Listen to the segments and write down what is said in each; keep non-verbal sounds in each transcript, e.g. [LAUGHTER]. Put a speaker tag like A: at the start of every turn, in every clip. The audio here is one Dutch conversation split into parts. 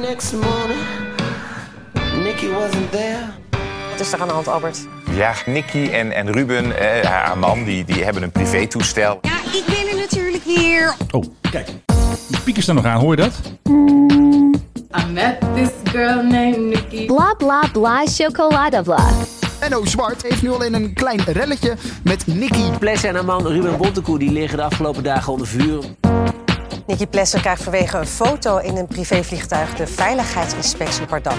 A: next morning, Nicky wasn't there.
B: Wat is er aan de hand, Albert?
C: Ja, Nicky en, en Ruben, eh, haar man, die, die hebben een privétoestel.
D: Ja, ik ben er natuurlijk weer.
E: Oh, kijk. Die piekers er nog aan, hoor je dat?
F: I met this girl named Nikki.
G: Bla bla bla chocolade bla.
H: Menno Zwart heeft nu al in een klein relletje met Nicky.
I: Pless en haar man Ruben Bontekoe die liggen de afgelopen dagen onder vuur.
B: Nicky Plessen krijgt vanwege een foto in een privévliegtuig de veiligheidsinspectie op haar dak.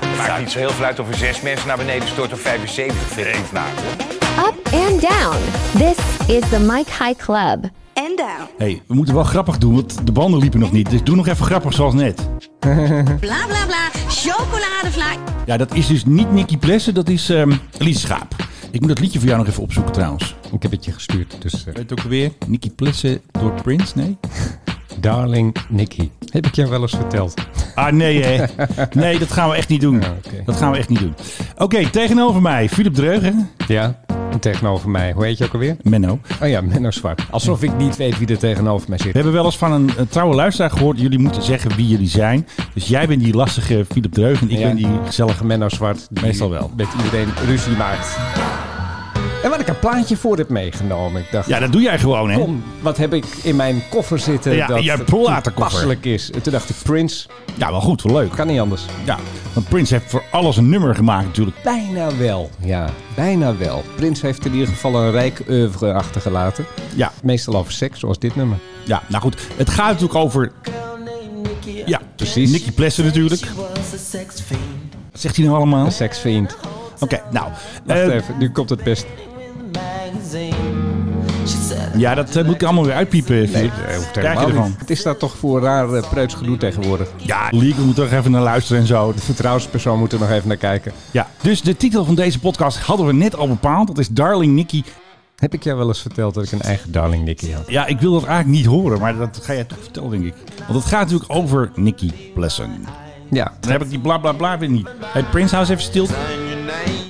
C: Het maakt niet zo heel veel uit of er zes mensen naar beneden stort of 75 vind ik vandaag.
G: Up and down. This is the Mike High Club.
D: En down.
E: hey, we moeten wel grappig doen, want de banden liepen nog niet. Dus doe nog even grappig zoals net.
D: Bla bla bla. Chocoladevla.
E: Ja, dat is dus niet Nicky Plessen, dat is ehm Lies Schaap. Ik moet dat liedje voor jou nog even opzoeken trouwens.
J: Ik heb het je gestuurd, dus... eh,
E: Weet ook weer? Nicky Plessen door Prince? Nee?
J: darling Nicky, heb ik jou wel eens verteld?
E: Ah, nee, hè. Nee, dat gaan we echt niet doen.
J: Ja, oké.
E: Dat gaan we echt niet doen. Oké, tegenover mij, Philip Dreugen.
J: Ja, en tegenover mij. Hoe heet je ook alweer?
E: Menno.
J: Oh ja, Menno Zwart. Alsof ik niet weet wie er tegenover mij
E: We
J: zit.
E: hebben wel eens van een, eh, trouwe luisteraar gehoord... jullie moeten zeggen wie jullie zijn. Dus jij bent die lastige Philip Dreugen. Ik
J: Ja,
E: ben die gezellige...
J: gezellige Menno Zwart. die
E: Meestal wel.
J: Met iedereen ruzie maakt. En wat ik een plaatje voor heb meegenomen. Ik dacht,
E: Ja, dat doe jij gewoon, hè?
J: kom, wat heb ik in mijn koffer zitten
E: Ja,
J: dat
E: in je platenkoffer.
J: toepasselijk is. En toen dacht ik, Prince, Oh,
E: Ja, wel goed, wel leuk.
J: kan niet anders.
E: Ja, want Prince heeft voor alles een nummer gemaakt natuurlijk.
J: Bijna wel, ja. Bijna wel. Prins heeft in ieder geval een rijk oeuvre achtergelaten.
E: Ja,
J: Meestal over seks, zoals dit nummer.
E: ja, nou goed. Het gaat natuurlijk over... Ja,
J: Precies.
E: Nicky Plessen natuurlijk.
A: Was a sex fiend.
E: Wat zegt hij nou allemaal?
J: Een
E: Oké,
J: seksvriend.
E: nou.
J: Wacht
E: eh,
J: even, nu komt het best.
A: Magazine. She said,
E: Ja, dat eh, moet ik allemaal weer uitpiepen. Philip. Krijg je
J: Helemaal
E: ervan?
J: niet. Het is daar toch voor raar eh, preuts gedoe tegenwoordig.
E: Ja, League moet toch even naar luisteren en zo.
J: De vertrouwenspersoon moet er nog even naar kijken.
E: Ja, dus de titel van deze podcast hadden we net al bepaald. Dat is Darling Nikki.
J: Heb ik jou wel eens verteld dat ik een eigen darling Nicky had?
E: Ja, ik wil dat eigenlijk niet horen, maar dat ga jij toch vertellen, denk ik. Want het gaat natuurlijk over Nikki Plessen.
J: Ja.
E: Dan heb ik die bla bla bla weer niet. Hey, Prince House even stil.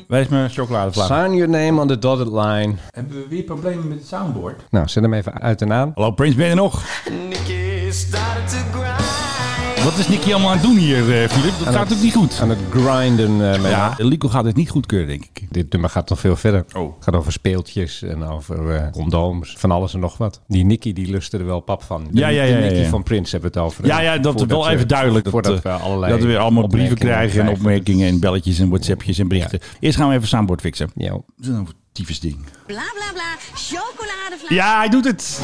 E: Wijs me een chocoladevlaag.
J: Sign your name on the dotted line.
E: Hebben we weer problemen met het soundboard?
J: Nou, zet hem even uit en aan.
E: Hallo Prince, ben je er nog?
A: Nicky started to grind.
E: Wat is Nikki allemaal aan het doen hier, eh Filip? Dat gaat ook niet goed.
J: Aan het grinden. eh, met
E: Ja, Lico gaat het niet goedkeuren, denk ik.
J: Dit nummer gaat nog veel verder.
E: Oh.
J: Het gaat over speeltjes en over eh condooms. Van alles en nog wat. Die Nicky die lustte er wel pap van. De,
E: Ja, ja, ja,
J: de
E: ja,
J: Nicky
E: ja.
J: van Prins hebben we het over.
E: Ja, ja, dat
J: Voordat
E: wel
J: we-
E: even duidelijk. Dat,
J: voordat
E: eh,
J: we allerlei
E: dat we weer allemaal brieven
J: opmerkingen
E: krijgen en
J: krijgen.
E: opmerkingen en belletjes en whatsappjes en berichten. Eerst gaan we even soundboard fixen.
J: Ja.
E: Dat is een tyfus ding.
D: Bla bla bla. Chocoladevla.
E: Ja, hij doet het!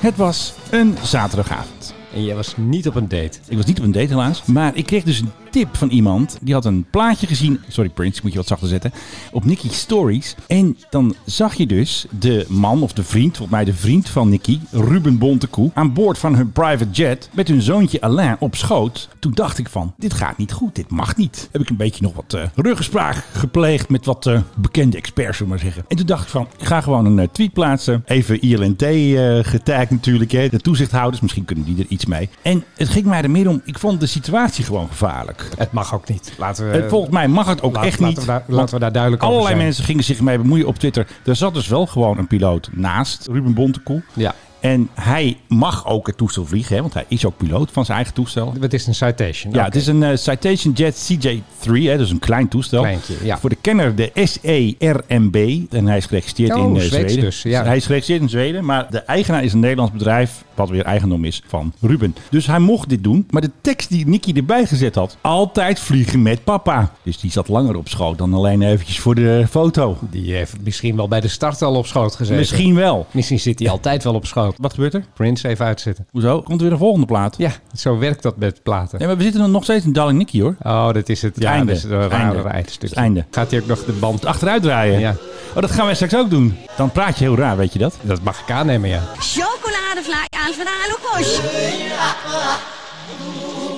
E: Het was een zaterdagavond.
J: En jij was niet op een date.
E: Ik was niet op een date helaas, maar ik kreeg dus een tip van iemand. Die had een plaatje gezien, sorry Prince, ik moet je wat zachter zetten, op Nicky Stories. En dan zag je dus de man of de vriend, volgens mij de vriend van Nicky, Ruben Bontekoe, aan boord van hun private jet met hun zoontje Alain op schoot. Toen dacht ik van, dit gaat niet goed, dit mag niet. Heb ik een beetje nog wat eh ruggespraak gepleegd met wat eh, bekende experts, zullen we maar zeggen. En toen dacht ik van, ik ga gewoon een eh, tweet plaatsen. Even ILNT eh getagd natuurlijk, hè. de toezichthouders, misschien kunnen die er iets mee. En het ging mij er meer om, ik vond de situatie gewoon gevaarlijk.
J: Het mag ook niet. Laten we...
E: Eh, volgens mij mag het ook
J: laat-
E: echt
J: laten
E: niet.
J: we daar-
E: want
J: laten we daar duidelijk over
E: allerlei
J: zijn.
E: mensen gingen zich mee bemoeien op Twitter. Er zat dus wel gewoon een piloot naast Ruben Bontekoe.
J: Ja.
E: En hij mag ook het toestel vliegen, hè, want hij is ook piloot van zijn eigen toestel.
J: Het is een citation. Oh,
E: Ja, het is een eh, Citation Jet CJ3, hè, dus een klein toestel.
J: Kleintje, ja.
E: Voor de kenner de E SERMB. En hij is geregistreerd
J: Oh,
E: in eh,
J: Zweeds
E: Zweden.
J: dus, ja.
E: Hij is geregistreerd in Zweden, maar de eigenaar is een Nederlands bedrijf, wat weer eigendom is van Ruben. Dus hij mocht dit doen, maar de tekst die Nicky erbij gezet had, altijd vliegen met papa. Dus die zat langer op schoot dan alleen eventjes voor de foto.
J: Die heeft misschien wel bij de start al op schoot gezeten.
E: Misschien wel.
J: Misschien zit hij altijd wel op schoot.
E: Wat gebeurt er?
J: Prince even uitzetten.
E: Hoezo? Komt er weer een volgende plaat?
J: Ja, zo werkt dat met platen.
E: Nee, maar we zitten dan nog steeds in Darling Nicky hoor.
J: Oh, dat is het
E: Ja,
J: ja,
E: einde.
J: dat is een
E: Het
J: rare
E: einde.
J: eindstukje.
E: Het einde.
J: Gaat hij ook nog de band achter?
E: Achteruit draaien.
J: Ja.
E: Oh, dat gaan wij straks ook doen. Dan praat je heel raar, weet je dat?
J: Dat mag ik aannemen, ja.
D: Chocoladevla. Alvada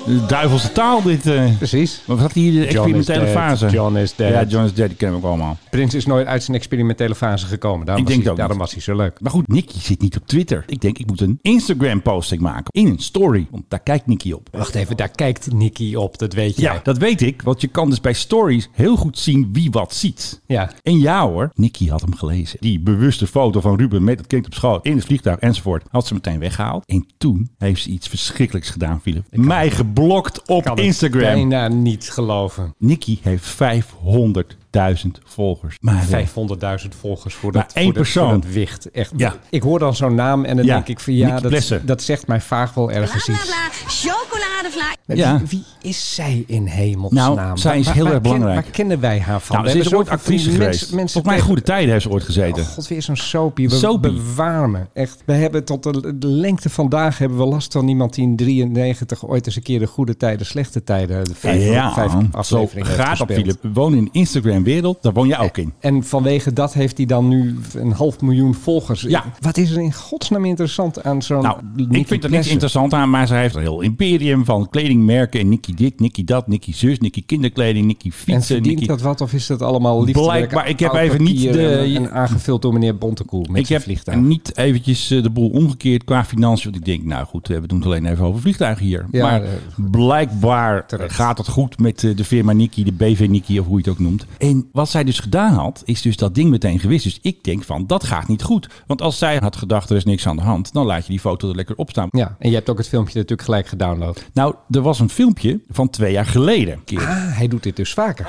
E: De duivelse taal, dit. eh.
J: Precies.
E: Maar wat had hij hier de
J: John
E: experimentele
J: is dead,
E: fase?
J: John is dead.
E: Ja, John is dead, die kennen we ook allemaal.
J: Prins is nooit uit zijn experimentele fase gekomen. Daarom,
E: Ik
J: was,
E: denk
J: hij,
E: het ook
J: daarom was hij zo leuk.
E: Maar goed, Nicky zit niet op Twitter. Ik denk, ik moet een Instagram-posting maken. In een story. Want daar kijkt Nicky op.
J: Wacht even, daar kijkt Nicky op, dat weet
E: Ja, dat weet ik. Want je kan dus bij stories heel goed zien wie wat ziet.
J: Ja.
E: En ja hoor, Nicky had hem gelezen. Die bewuste foto van Ruben met het kind op schoot in het vliegtuig enzovoort had ze meteen weggehaald. En toen heeft ze iets verschrikkelijks gedaan, Philip. Mij geblokt op
J: kan het
E: Instagram.
J: bijna niet geloven.
E: Nicky heeft 500.000 volgers. Maar
J: 500.000 volgers voor
E: Maar
J: dat,
E: één
J: voor dat, voor
E: persoon.
J: dat wicht. Echt.
E: Ja.
J: Ik hoor dan zo'n naam en dan
E: Ja,
J: denk ik van ja,
E: Nicky
J: dat,
E: Plessen.
J: dat zegt mij vaag wel
D: Bla
J: ergens
D: bla
J: iets.
D: bla, chocoladevla.
J: Maar
E: Ja.
J: Wie, wie is zij in hemelsnaam?
E: Nou, zij is
J: Waar-
E: heel
J: waar
E: erg
J: ken-
E: belangrijk.
J: waar kennen wij haar van?
E: nou,
J: We
E: ze is
J: hebben
E: ooit
J: zoveel
E: actrice
J: mensen-
E: geweest.
J: mensen
E: Volgens mij
J: tegen-
E: goede tijden heeft ze ooit gezeten.
J: Oh god, weer zo'n soapie. We
E: Soapie.
J: bewaar me. Echt. We hebben tot de, de lengte vandaag hebben we last van iemand die in 93 ooit eens een keer de goede tijden, slechte tijden, de vijf,
E: ja,
J: vijf
E: zo
J: afleveringen heeft
E: gaat dat,
J: gespeeld.
E: Philip. We wonen in een Instagram-wereld, daar woon jij ook in.
J: Eh, En vanwege dat heeft hij dan nu een half miljoen volgers.
E: Ja.
J: Wat is er in godsnaam interessant aan zo'n
E: Nou,
J: Nicky
E: ik vind er niks
J: Plessen?
E: interessant aan, maar ze heeft een heel imperium van kledingmerken. En Nicky dit, Nicky dat, Nicky zus, Nicky kinderkleding, Nicky
J: En
E: fietsen.
J: verdient
E: Nicky...
J: dat wat of is dat allemaal liefdewerk?
E: Blijkbaar, ik heb
J: oud
E: even niet
J: papier
E: de-
J: En, en aangevuld door meneer Bontekoe met
E: Ik
J: zijn
E: heb
J: vliegtuig.
E: niet eventjes eh, de boel omgekeerd qua financiën. Want ik denk, nou goed, eh, we doen het alleen even over vliegtuigen hier.
J: Ja,
E: maar
J: eh,
E: blijkbaar
J: terecht.
E: gaat het goed met eh, de firma Niki, de BV Niki of hoe je het ook noemt. En wat zij dus gedaan had, is dus dat ding meteen gewist. Dus ik denk van, dat gaat niet goed. Want als zij had gedacht, er is niks aan de hand, dan laat je die foto er lekker op staan.
J: Ja, en je hebt ook het filmpje natuurlijk gelijk gedownload.
E: Nou, er was een filmpje van twee jaar geleden. Een keer.
J: Ah, hij doet dit dus vaker.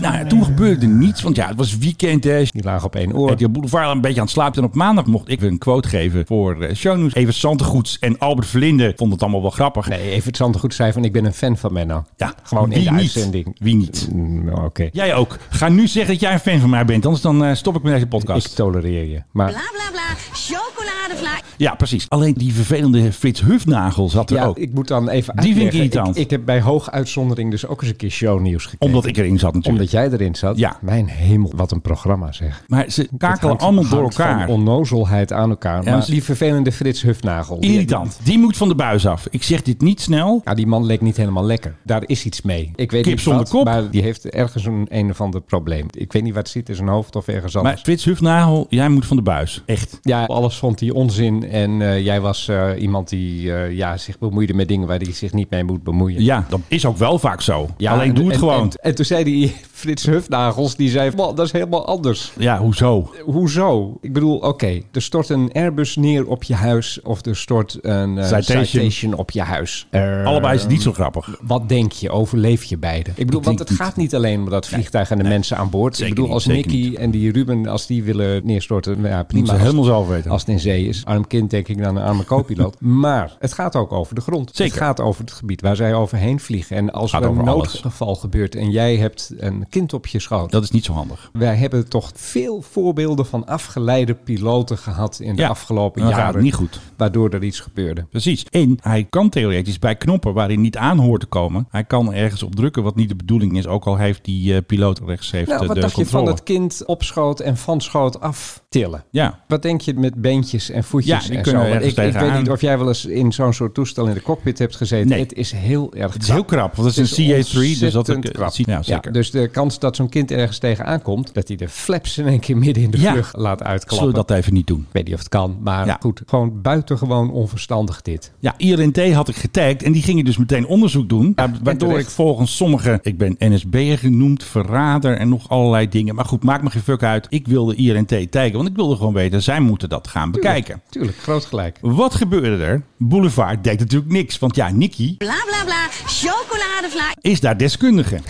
E: Nou ja, toen gebeurde niets, want ja, het was weekend. Hè.
J: Die lagen op één oor.
E: RTL Boulevard een beetje aan het slapen. En op maandag mocht ik weer een quote geven voor eh, shownieuws. Even Santegoeds en Albert Verlinde vonden het allemaal wel grappig.
J: Nee, even het goed zei van ik ben een fan van Menno.
E: Ja,
J: gewoon
E: wie
J: in de
E: niet?
J: uitzending.
E: Wie niet?
J: Mm, Oké,
E: Jij ook. Ga nu zeggen dat jij een fan van mij bent, anders dan eh, stop ik met deze
J: ik
E: podcast.
J: tolereer je. Maar
D: Bla bla bla, chocoladevla.
E: Ja, precies. Alleen die vervelende Frits Hufnagel zat er
J: ja,
E: ook.
J: ik moet dan even
E: Die vind ik
J: uitleggen.
E: irritant.
J: Ik, ik heb bij hoog uitzondering dus ook eens een keer shownieuws gekeken.
E: Omdat ik erin zat natuurlijk.
J: Omdat jij erin zat.
E: Ja.
J: Mijn hemel, wat een programma zeg.
E: Maar ze
J: Het
E: kakelen
J: hangt-
E: allemaal door
J: hangt van
E: elkaar.
J: onnozelheid aan elkaar.
E: Ja,
J: maar
E: ze-
J: die vervelende Frits Hufnagel. die-
E: Irritant. Die moet van de buis af. Ik zeg dit niet snel.
J: Ja, die man leek niet helemaal lekker. Daar is iets mee. Ik weet
E: Kip
J: niet
E: zonder
J: wat,
E: kop.
J: maar die heeft ergens een een of ander probleem. Ik weet niet wat het zit in zijn hoofd of ergens
E: Maar
J: anders.
E: Frits Hufnagel, jij moet van de buis. Echt.
J: Ja, alles vond hij onzin. En eh, jij was eh, iemand die eh, ja, zich bemoeide met dingen waar hij zich niet mee moet bemoeien.
E: Ja, dat is ook wel vaak zo.
J: Ja,
E: Alleen
J: en-
E: doe het
J: en-
E: gewoon.
J: En, en toen zei die [LAUGHS] Frits Hufnagels, die zei, "Man, dat is helemaal anders.
E: ja, hoezo?
J: Eh, Hoezo? Ik bedoel, oké, er stort een Airbus neer op je huis of er stort een eh,
E: Citation.
J: citation. op je huis. Eh,
E: Allebei is het niet zo grappig.
J: Wat denk je? Overleef je beide? Ik bedoel,
E: Ik
J: want
E: denk
J: het
E: niet.
J: gaat niet alleen om dat vliegtuig en de mensen aan boord.
E: Zeker
J: ik bedoel,
E: niet,
J: als
E: zeker
J: Nicky
E: niet.
J: en die Ruben, als die willen neerstorten, nou ja, prima.
E: Moeten ze
J: Als-
E: helemaal zelf weten.
J: Als het in zee is, arm kind denk ik dan een arme
E: [LAUGHS]
J: co-piloot. maar het gaat ook over de grond.
E: Zeker.
J: Het gaat over het gebied waar zij overheen vliegen. En als
E: Gaat
J: er een
E: over alles.
J: noodgeval gebeurt en jij hebt een kind op je schoot.
E: Dat is niet zo handig.
J: wij hebben toch veel voorbeelden van afgeleide piloten gehad in de
E: Ja,
J: afgelopen
E: dan gaat
J: jaren.
E: het niet goed.
J: Waardoor er iets gebeurde.
E: Precies. En hij kan theoretisch bij knoppen waar hij niet aan hoort te komen. Hij kan ergens op drukken wat niet de bedoeling is. Ook al heeft die eh, piloot rechts heeft
J: Nou,
E: eh,
J: wat
E: de
J: dacht
E: controle.
J: je van het kind op schoot en van schoot af tillen?
E: Ja.
J: Wat denk je met beentjes en
E: Ja,
J: voetjes
E: die
J: en zo?
E: kunnen
J: Want
E: ergens
J: Ik, ik weet
E: tegenaan.
J: niet of jij wel eens in zo'n soort toestel in de cockpit hebt gezeten.
E: Nee.
J: Het is heel erg
E: Het is heel krap, want het is een CA3. Dus dat
J: ontzettend krap.
E: dat ziet- Ja,
J: Ja,
E: zeker.
J: dus de kans dat zo'n kind ergens tegenaan komt, dat hij de flaps in één keer midden in de
E: Ja.
J: vlucht laat
E: Zullen
J: uitklappen.
E: we dat even niet doen?
J: Ik weet niet of het kan, maar
E: Ja.
J: goed. Gewoon buitengewoon onverstandig dit.
E: Ja, IRNT had ik getagd en die gingen dus meteen onderzoek doen. wa- waardoor
J: terecht.
E: ik volgens sommigen, ik ben NSB'er genoemd, verrader en nog allerlei dingen. Maar goed, maakt me geen fuck uit. Ik wilde IRNT taggen, want ik wilde gewoon weten, zij moeten dat gaan bekijken.
J: Tuurlijk, groot gelijk.
E: Wat gebeurde er? Boulevard deed natuurlijk niks. Want ja, Nicky
D: Bla bla bla, chocoladevla.
E: is daar deskundige.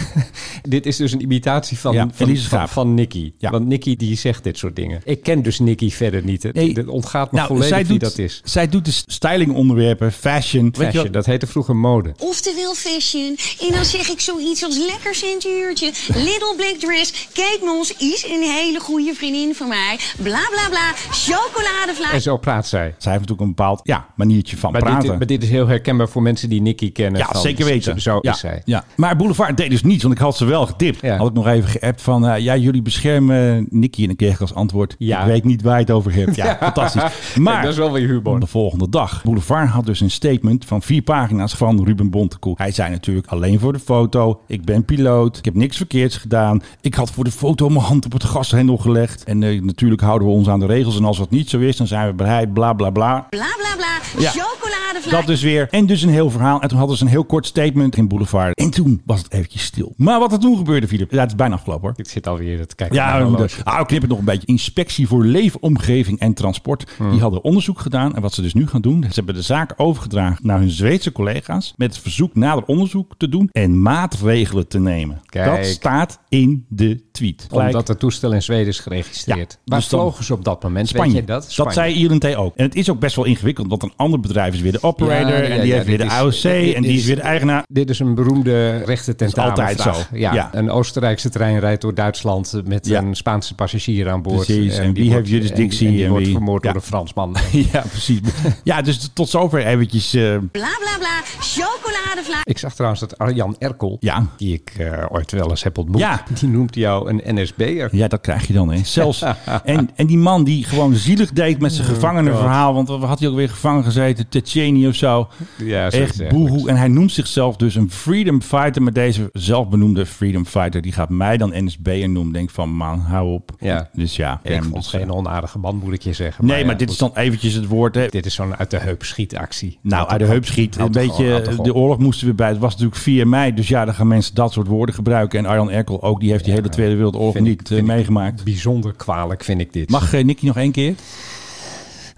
J: Dit is dus een imitatie van,
E: Ja,
J: van,
E: Elise
J: van,
E: Schaap.
J: van Nicky.
E: Ja.
J: Want Nicky die zegt dit soort dingen. Ik ken dus Nicky verder niet. Het
E: Nee. Nou,
J: het ontgaat me volledig
E: zij
J: wie
E: doet,
J: dat is.
E: Zij doet dus stylingonderwerpen, fashion. Weet je
J: Fashion,
E: wel?
J: dat heette vroeger mode.
D: Oftewel fashion. En dan zeg ik zoiets als lekker centuurtje. Little black dress. Kate Moss is een hele goede vriendin van mij. Bla bla bla, chocoladevla.
J: En zo praat zij.
E: Zij heeft natuurlijk een bepaald ja, maniertje van
J: Maar
E: praten.
J: dit, maar dit is heel herkenbaar voor mensen die Nicky kennen.
E: ja,
J: van,
E: zeker weten.
J: Zo
E: ja,
J: is zij.
E: Ja. Maar Boulevard deed dus niets, want ik had ze wel getipt.
J: Ja.
E: Had ik nog even geappt van, eh, ja, jullie beschermen Nicky. En dan kreeg ik als antwoord,
J: Ja.
E: ik weet niet waar je het over hebt. Ja,
J: [LAUGHS]
E: fantastisch. Maar
J: dat is wel weer humor.
E: de volgende dag, Boulevard had dus een statement van vier pagina's van Ruben Bontekoe. Hij zei natuurlijk alleen voor de foto, ik ben piloot, ik heb niks verkeerds gedaan. Ik had voor de foto mijn hand op het gashendel gelegd. En eh, natuurlijk houden we ons aan de regels. En als dat niet zo is, dan zijn we bereid, bla bla bla.
D: Bla bla bla,
E: Ja.
D: chocoladevla.
E: Dat dus weer. En dus een heel verhaal. En toen hadden ze een heel kort statement in Boulevard. En toen was het eventjes stil. Maar wat er toen gebeurde vier Filip. Ja, het is bijna afgelopen hoor.
J: Ik zit alweer te kijken.
E: Ja,
J: naar mijn
E: we
J: horloge.
E: moeten- ah, ik knip het nog een beetje. Inspectie voor Leefomgeving en Transport.
J: Hmm.
E: Die hadden onderzoek gedaan. En wat ze dus nu gaan doen, ze hebben de zaak overgedragen naar hun Zweedse collega's. Met het verzoek nader onderzoek te doen en maatregelen te nemen.
J: Kijk.
E: Dat staat in de tweet.
J: Omdat het toestel in Zweden is geregistreerd.
E: Ja,
J: Waar
E: dus dan-
J: vlogen ze op dat moment?
E: Spanje.
J: Weet je dat? Spanje.
E: zei ILNT ook. En het is ook best wel ingewikkeld, want een ander bedrijf is weer de operator.
J: Ja, ja,
E: en die
J: ja,
E: heeft weer de
J: dit is-
E: AOC.
J: dit
E: en die is
J: is-
E: weer de eigenaar.
J: Dit is een beroemde rechten
E: altijd zo.
J: Ja,
E: Ja.
J: Een Oostenrijkse trein rijdt door Duitsland met
E: Ja.
J: een Spaanse passagier aan boord.
E: Precies, en
J: die
E: wie
J: wordt-
E: heeft jurisdictie
J: En die, en die
E: en
J: wordt
E: wie-
J: vermoord
E: Ja.
J: door een Fransman. [LAUGHS]
E: [LAUGHS] Ja, precies. ja, dus tot zover eventjes. eh,
D: Bla bla bla, chocoladevla.
J: ik zag trouwens dat Arjan Erkel,
E: ja.
J: die ik eh, ooit wel eens heb ontmoet,
E: Ja.
J: die noemt jou een NSB'er.
E: Ja, dat krijg je dan, hè. [LAUGHS] Zelfs, en, en die man die gewoon zielig deed met zijn gevangenenverhaal. Want wat had hij ook weer gevangen gezeten? Tsjetsjenië of zo.
J: Ja, zoiets
E: Echt boehoe. En hij noemt zichzelf dus een freedom fighter. Maar deze zelfbenoemde freedom fighter, die gaat mij dan NSB'er noemen. Denk van, man, hou op.
J: Ja.
E: Dus ja.
J: Ik
E: hem,
J: vond
E: dus,
J: geen onaardige man, moet ik je zeggen.
E: nee, maar dit
J: ja,
E: is dan eventjes het woord, hè.
J: Dit is zo'n uit de heup schietactie.
E: Nou,
J: Houd
E: uit de
J: toch
E: heup
J: op.
E: schiet. Een
J: Houd toch op, houd
E: beetje, eh,
J: toch
E: de
J: op.
E: oorlog moesten we bij. Het was natuurlijk 4 mei, dus ja, dan gaan mensen dat soort woorden gebruiken. En Arjan Erkel ook, die heeft die hele Tweede Wereldoorlog
J: vind ik-
E: niet eh,
J: vind ik-
E: meegemaakt.
J: Bijzonder kwalijk vind ik dit.
E: Mag eh, Nicky nog één keer?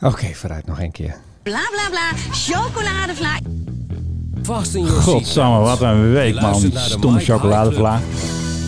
J: Oké, vooruit nog één keer.
D: Bla bla bla, chocoladevla.
I: Vast in je
E: Godsamme, wat een week man. Stomme chocoladevla.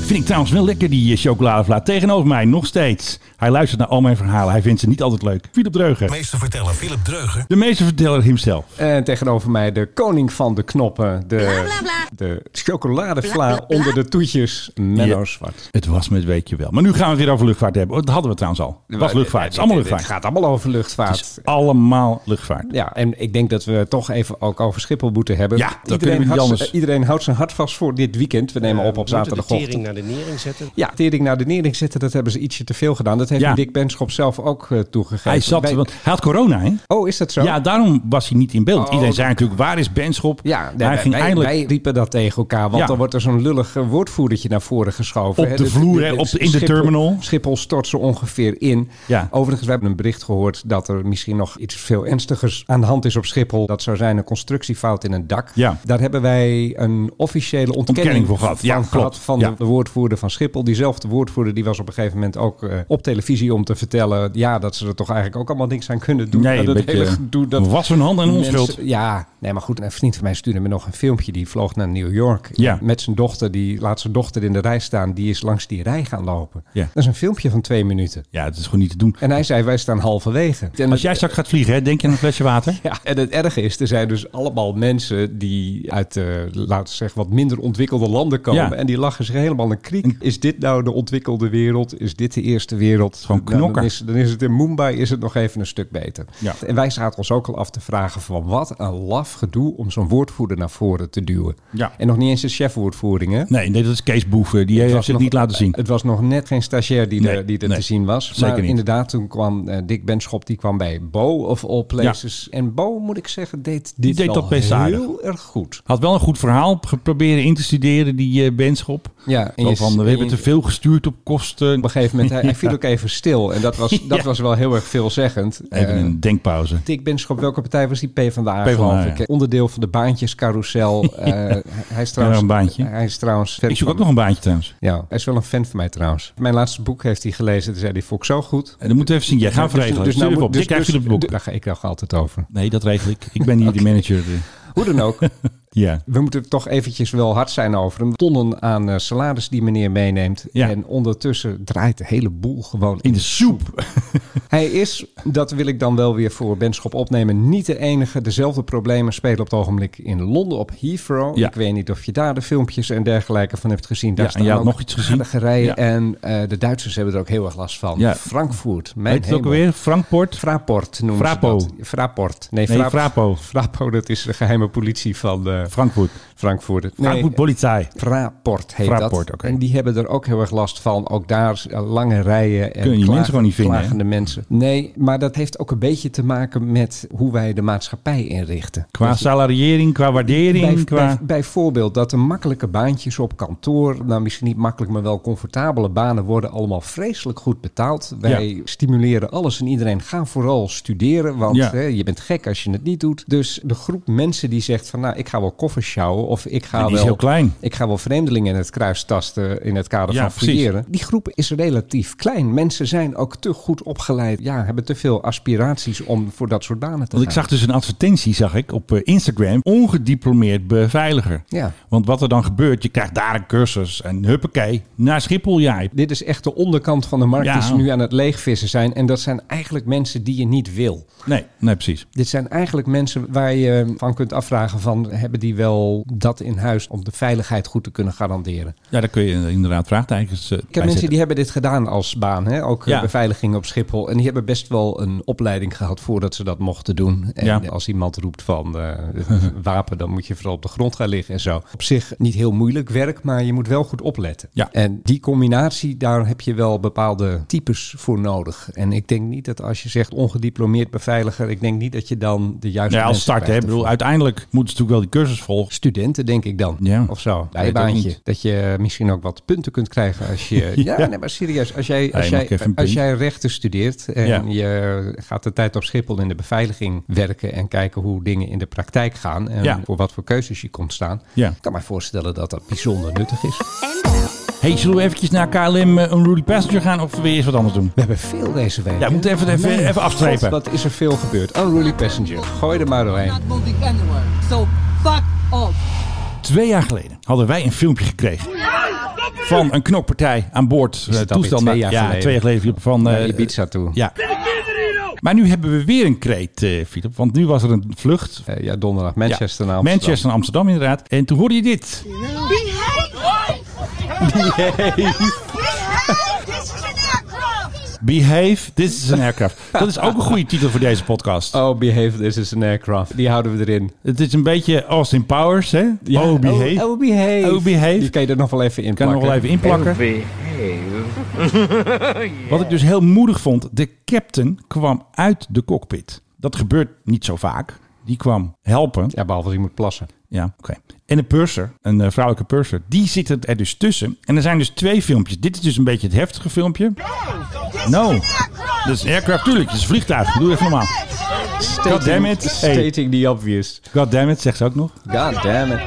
E: Vind ik trouwens wel lekker die eh, chocoladevla. Tegenover mij nog steeds. Hij luistert naar al mijn verhalen. Hij vindt ze niet altijd leuk. Philip Dreugen.
K: meeste vertellen Philip Dreugen.
E: De meesterverteller himself.
J: En tegenover mij de koning van de knoppen. De,
D: Bla, bla, bla.
J: de chocoladevla
D: Bla, bla, bla.
J: onder de toetjes. Menno
E: Ja.
J: Zwart.
E: Het was met weetje wel. Maar nu gaan we het weer over luchtvaart hebben. Oh, Dat hadden we trouwens al. Het was luchtvaart. Het is allemaal
J: Dit- dit
E: luchtvaart.
J: gaat allemaal over luchtvaart.
E: Het is allemaal luchtvaart.
J: Ja, en ik denk dat we toch even ook over Schiphol moeten hebben.
E: Ja, dat kunnen we
J: iedereen,
E: niet
J: houdt,
E: anders. Eh,
J: eh, iedereen houdt zijn hart vast voor dit weekend. We nemen op op zaterdagochtend.
I: naar de nering zetten.
J: Ja, tering naar de nering zetten, dat hebben ze ietsje te veel gedaan. Dat heeft
E: Ja.
J: Dick Benschop zelf ook eh, toegegeven.
E: Hij zat,
J: Wij-
E: want hij had corona, hè?
J: Oh, is dat zo?
E: Ja, daarom was hij niet in beeld.
J: Oh,
E: Iedereen
J: dat-
E: zei natuurlijk, waar is Benschop?
J: Ja, nee,
E: hij
J: wij,
E: ging
J: wij-
E: eindelijk
J: wij riepen dat tegen elkaar. Want
E: Ja.
J: dan wordt er zo'n lullig eh, woordvoerdertje naar voren geschoven.
E: Op
J: hè.
E: de
J: Dit-
E: vloer,
J: dit-
E: hè, op de- in de
J: Schiphol-
E: terminal.
J: Schiphol stort ze ongeveer in.
E: Ja.
J: Overigens, we hebben een bericht gehoord dat er misschien nog iets veel ernstigers aan de hand is op Schiphol. Dat zou zijn een constructiefout in een dak.
E: Ja.
J: Daar hebben wij een officiële ontkenning,
E: Ontkenning voor gehad.
J: van
E: Ja, klopt.
J: van
E: Ja.
J: de woordvoerder van Schiphol. Diezelfde woordvoerder die was op een gegeven moment ook eh, op televisie om te vertellen ja, dat ze er toch eigenlijk ook allemaal niks aan kunnen doen.
E: Nee,
J: dat
E: een
J: het
E: beetje-
J: hele gedoe dat
E: was hun hand en
J: mensen-
E: onschuld.
J: ja, nee, maar goed, een vriend van mij stuurde me nog een filmpje. Die vloog naar New York
E: Ja.
J: met zijn dochter. Die laat zijn dochter in de rij staan. Die is langs die rij gaan lopen.
E: Ja.
J: Dat is een filmpje van twee minuten.
E: Ja, het is gewoon niet te doen.
J: En hij zei, wij staan halverwege. En
E: Als
J: het-
E: jij straks gaat vliegen, hè, denk je aan een flesje water?
J: [LAUGHS] ja, en het erge is, er zijn dus allemaal mensen die uit, eh, laten we zeggen, wat minder ontwikkelde landen komen.
E: Ja.
J: En die lachen zich helemaal een kriek. Is dit nou de ontwikkelde wereld? Is dit de eerste wereld?
E: gewoon
J: Nou,
E: knokken.
J: dan, is, dan is het in Mumbai is het nog even een stuk beter.
E: Ja.
J: En wij zaten ons ook al af te vragen van wat een laf gedoe om zo'n woordvoerder naar voren te duwen.
E: Ja.
J: En nog niet eens een chefwoordvoering, hè?
E: Nee, nee, dat is Kees Boeven. Die eh, heeft
J: was
E: het
J: nog-
E: niet laten zien.
J: Het was nog net geen stagiair die
E: Nee,
J: er, die er
E: nee,
J: te zien was.
E: zeker
J: maar
E: niet.
J: inderdaad, toen kwam eh, Dick Benschop, die kwam bij Bo of All Places. En Bo, moet ik zeggen, deed dit
E: deed
J: wel
E: dat best
J: heel
E: aardig.
J: erg goed.
E: Had wel een goed verhaal geprobeerd in te studeren, die eh Benschop.
J: Ja, en
E: Zo
J: je-
E: van, we
J: en
E: hebben
J: je-
E: te veel gestuurd op kosten.
J: Op een gegeven moment, hij, hij
E: [LAUGHS]
J: viel ook even stil. En dat was, dat
E: Ja.
J: was wel heel erg veelzeggend.
E: Even
J: Eh,
E: een denkpauze.
J: Dick Benschop, welke partij was die? PvdA,
E: PvdA,
J: geloof ik.
E: ja.
J: Onderdeel van de
E: [LAUGHS]
J: baantjescarousel. Eh, hij, is trouwens, eh,
E: een baantje.
J: hij is trouwens... fan
E: Ik zoek ook
J: van-
E: nog een baantje trouwens.
J: Ja, hij is wel een fan van mij trouwens. Mijn laatste boek heeft hij gelezen. Toen zei hij, vond ik zo goed.
E: En dan moeten we even zien. Jij gaat
J: Dus-
E: het regelen.
J: dus
E: Dus,
J: nou moet-
E: op.
J: dus-
E: Jij krijgt
J: dus-
E: Philip het boek.
J: Daar ga ik nog altijd over.
E: Nee, dat regel ik. Ik ben hier de manager. eh.
J: Hoe dan ook,
E: Ja.
J: we moeten toch eventjes wel hard zijn over hem. Tonnen aan eh, salaris die meneer meeneemt.
E: Ja.
J: En ondertussen draait de hele boel gewoon
E: In de soep.
J: Hij is, dat wil ik dan wel weer voor Benschop opnemen, niet de enige. Dezelfde problemen spelen op het ogenblik in Londen op Heathrow.
E: Ja.
J: Ik weet niet of je daar de filmpjes en dergelijke van hebt gezien. Daar
E: Ja, en
J: staan
E: jij had
J: ook
E: nog iets gezien.
J: aardige rijen.
E: Ja.
J: En eh, de Duitsers hebben er ook heel erg last van.
E: Ja.
J: Frankfurt, mijn
E: Heet het ook
J: hemel.
E: alweer? Frankport.
J: Fraport noemen
E: Frapo.
J: ze dat. Fraport. Nee,
E: Nee,
J: Frap-
E: Frapo.
J: Frapo, dat is de geheime politie van eh,
E: Frankfurt.
J: Frankfurt. Nee,
E: Frankfurt Politie.
J: Fraport heet
E: Fraport,
J: dat.
E: oké.
J: En die hebben er ook heel erg last van. Ook daar eh, lange rijen en
E: Kun je die
J: klagen-
E: mensen gewoon niet vinden,
J: klagende mensen. Nee, maar dat heeft ook een beetje te maken met hoe wij de maatschappij inrichten. Dus
E: Qua salariering, qua waardering,
J: Bij-
E: qua...
J: bij- bijvoorbeeld dat de makkelijke baantjes op kantoor, nou misschien niet makkelijk, maar wel comfortabele banen worden allemaal vreselijk goed betaald. Wij stimuleren alles en iedereen. Ga vooral studeren, want
E: Ja.
J: hè, je bent gek als je het niet doet. Dus de groep mensen die zegt van nou, ik ga wel wel koffers sjouwen. Of ik ga
E: Die is
J: wel,
E: heel klein.
J: Ik ga wel vreemdelingen in het kruis tasten in het kader
E: Ja,
J: van
E: precies.
J: fouilleren. Die groep is relatief klein. Mensen zijn ook te goed opgeleid. Ja, hebben te veel aspiraties om voor dat soort banen te
E: Want ik
J: gaan.
E: zag dus een advertentie zag ik op eh, Instagram. Ongediplomeerd beveiliger.
J: Ja.
E: Want wat er dan gebeurt, je krijgt daar een cursus. En huppakee, naar Schiphol jij.
J: Dit is echt de onderkant van de markt
E: Ja.
J: die ze nu aan het leegvissen zijn. En dat zijn eigenlijk mensen die je niet wil.
E: Nee, nee, precies.
J: Dit zijn eigenlijk mensen waar je van kunt afvragen van... hebben die wel dat in huis om de veiligheid goed te kunnen garanderen?
E: Ja, daar kun je inderdaad vraagtekens eh,
J: Ik heb
E: bij
J: mensen
E: zetten.
J: die hebben dit gedaan als baan, hè? ook eh,
E: Ja.
J: beveiliging op Schiphol. En die hebben best wel een opleiding gehad voordat ze dat mochten doen. En
E: Ja.
J: als iemand roept van
E: [LAUGHS]
J: eh, wapen, dan moet je vooral op de grond gaan liggen en zo. Op zich niet heel moeilijk werk, maar je moet wel goed opletten.
E: Ja.
J: En die combinatie, daar heb je wel bepaalde types voor nodig. En ik denk niet dat als je zegt ongediplomeerd beveiliger, ik denk niet dat je dan de juiste
E: Ja, als
J: mensen
E: start, hè. Ik
J: krijgt
E: bedoel,
J: ervoor.
E: uiteindelijk moeten ze natuurlijk wel die cursus volgen.
J: Studenten, denk ik dan.
E: Ja.
J: Of zo.
E: weet ook
J: Bijbaantje.
E: niet.
J: Dat je misschien ook wat punten kunt krijgen
E: [LAUGHS]
J: als je. ja,
E: Ja.
J: nee, maar serieus. Als jij, als
E: je
J: jij,
E: mag even een
J: als
E: punt.
J: jij rechten studeert en
E: Ja.
J: je gaat de tijd op Schiphol in de beveiliging werken en kijken hoe dingen in de praktijk gaan en
E: Ja.
J: voor wat voor keuzes je komt staan.
E: Ja.
J: Ik kan mij voorstellen dat dat bijzonder nuttig is.
E: hey, zullen we eventjes naar KLM eh, Unruly Passenger gaan of weer eens wat anders doen?
J: We hebben veel deze week. Oh,
E: Ja, we moeten even- even- even afstrepen.
J: God, wat is er veel gebeurd? Unruly Passenger. Gooi er maar doorheen.
E: Twee jaar geleden hadden wij een filmpje gekregen van een knokpartij aan boord. eh,
J: alweer
E: toestel
J: twee
E: naar-
J: jaar
E: ja,
J: geleden?
E: twee jaar geleden Philip, van
J: Naar
E: eh,
J: Ibiza toe.
E: Ja. Maar nu hebben we weer een kreet, eh, Philip. Want nu was er een vlucht.
J: Eh, ja, donderdag Manchester
E: Ja,
J: naar Amsterdam.
E: Manchester naar Amsterdam, inderdaad. En toen hoorde je dit. Behave, this is an aircraft. Dat is ook een goede titel voor deze podcast.
J: Oh, behave this is an aircraft. Die houden we erin.
E: Het is een beetje Austin Powers, hè? oh, behave.
J: Oh, behave.
E: Oh, behave.
J: Die kan je er nog wel even in
E: kan er nog wel even inplakken. Wat ik dus heel moedig vond, de captain kwam uit de cockpit. Dat gebeurt niet zo vaak. Die kwam helpen.
J: Ja, behalve als je moet plassen.
E: Ja, oké. En een purser, een eh, vrouwelijke purser, die zit er- er dus tussen. En er zijn dus twee filmpjes. Dit is dus een beetje het heftige filmpje. No. Dat is een aircraft, tuurlijk. Het is een vliegtuig. Doe even normaal. God damn it. Hey,
J: Stating the obvious.
E: God damn it, zegt ze ook nog.
J: God damn it.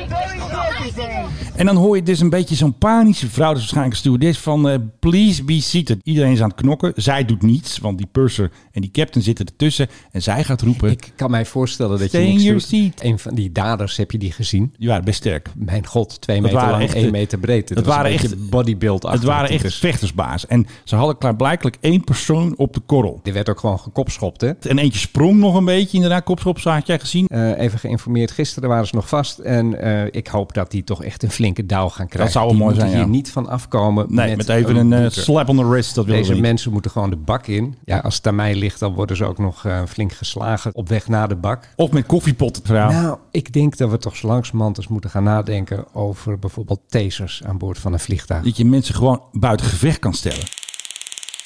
E: En dan hoor je dus een beetje zo'n panische vrouw, dat is waarschijnlijk een stewardess, van eh, please be seated. Iedereen is aan het knokken. Zij doet niets, want die purser en die captain zitten ertussen. En zij gaat roepen.
J: Ik kan mij voorstellen dat
E: Stay
J: je
E: in
J: niks
E: your
J: doet.
E: seat.
J: Een van die daders, heb je die gezien?
E: Die waren best sterk.
J: Mijn god, twee
E: Dat
J: meter
E: waren
J: lang,
E: echt,
J: één
E: eh,
J: meter breed. Dat
E: het
J: was
E: waren
J: een
E: echt-
J: beetje bodybuild dus.
E: Het waren echt vechtersbaas. En ze hadden klaarblijkelijk één persoon op de korrel.
J: Er werd ook gewoon gekopschopt, hè?
E: En eentje sprong nog een beetje, inderdaad. Kopschop, zo had jij gezien.
J: Eh, even geïnformeerd, gisteren waren ze nog vast. En eh, ik hoop dat die toch echt een flinke douw gaan krijgen.
E: zou wel
J: Die
E: mooi
J: moeten
E: zijn, ja.
J: hier niet van afkomen.
E: Nee, met, even een, eh,
J: boete.
E: slap on the wrist. Dat wilden
J: Deze
E: ze niet.
J: mensen moeten gewoon de bak in. Ja, als het aan mij ligt, dan worden ze ook nog eh, flink geslagen op weg naar de bak.
E: Of met koffiepotten verhaal.
J: Nou, ik denk dat we toch zo langzamerhand eens moeten gaan nadenken over bijvoorbeeld tasers aan boord van een vliegtuig.
E: Dat je mensen gewoon buiten gevecht kan stellen.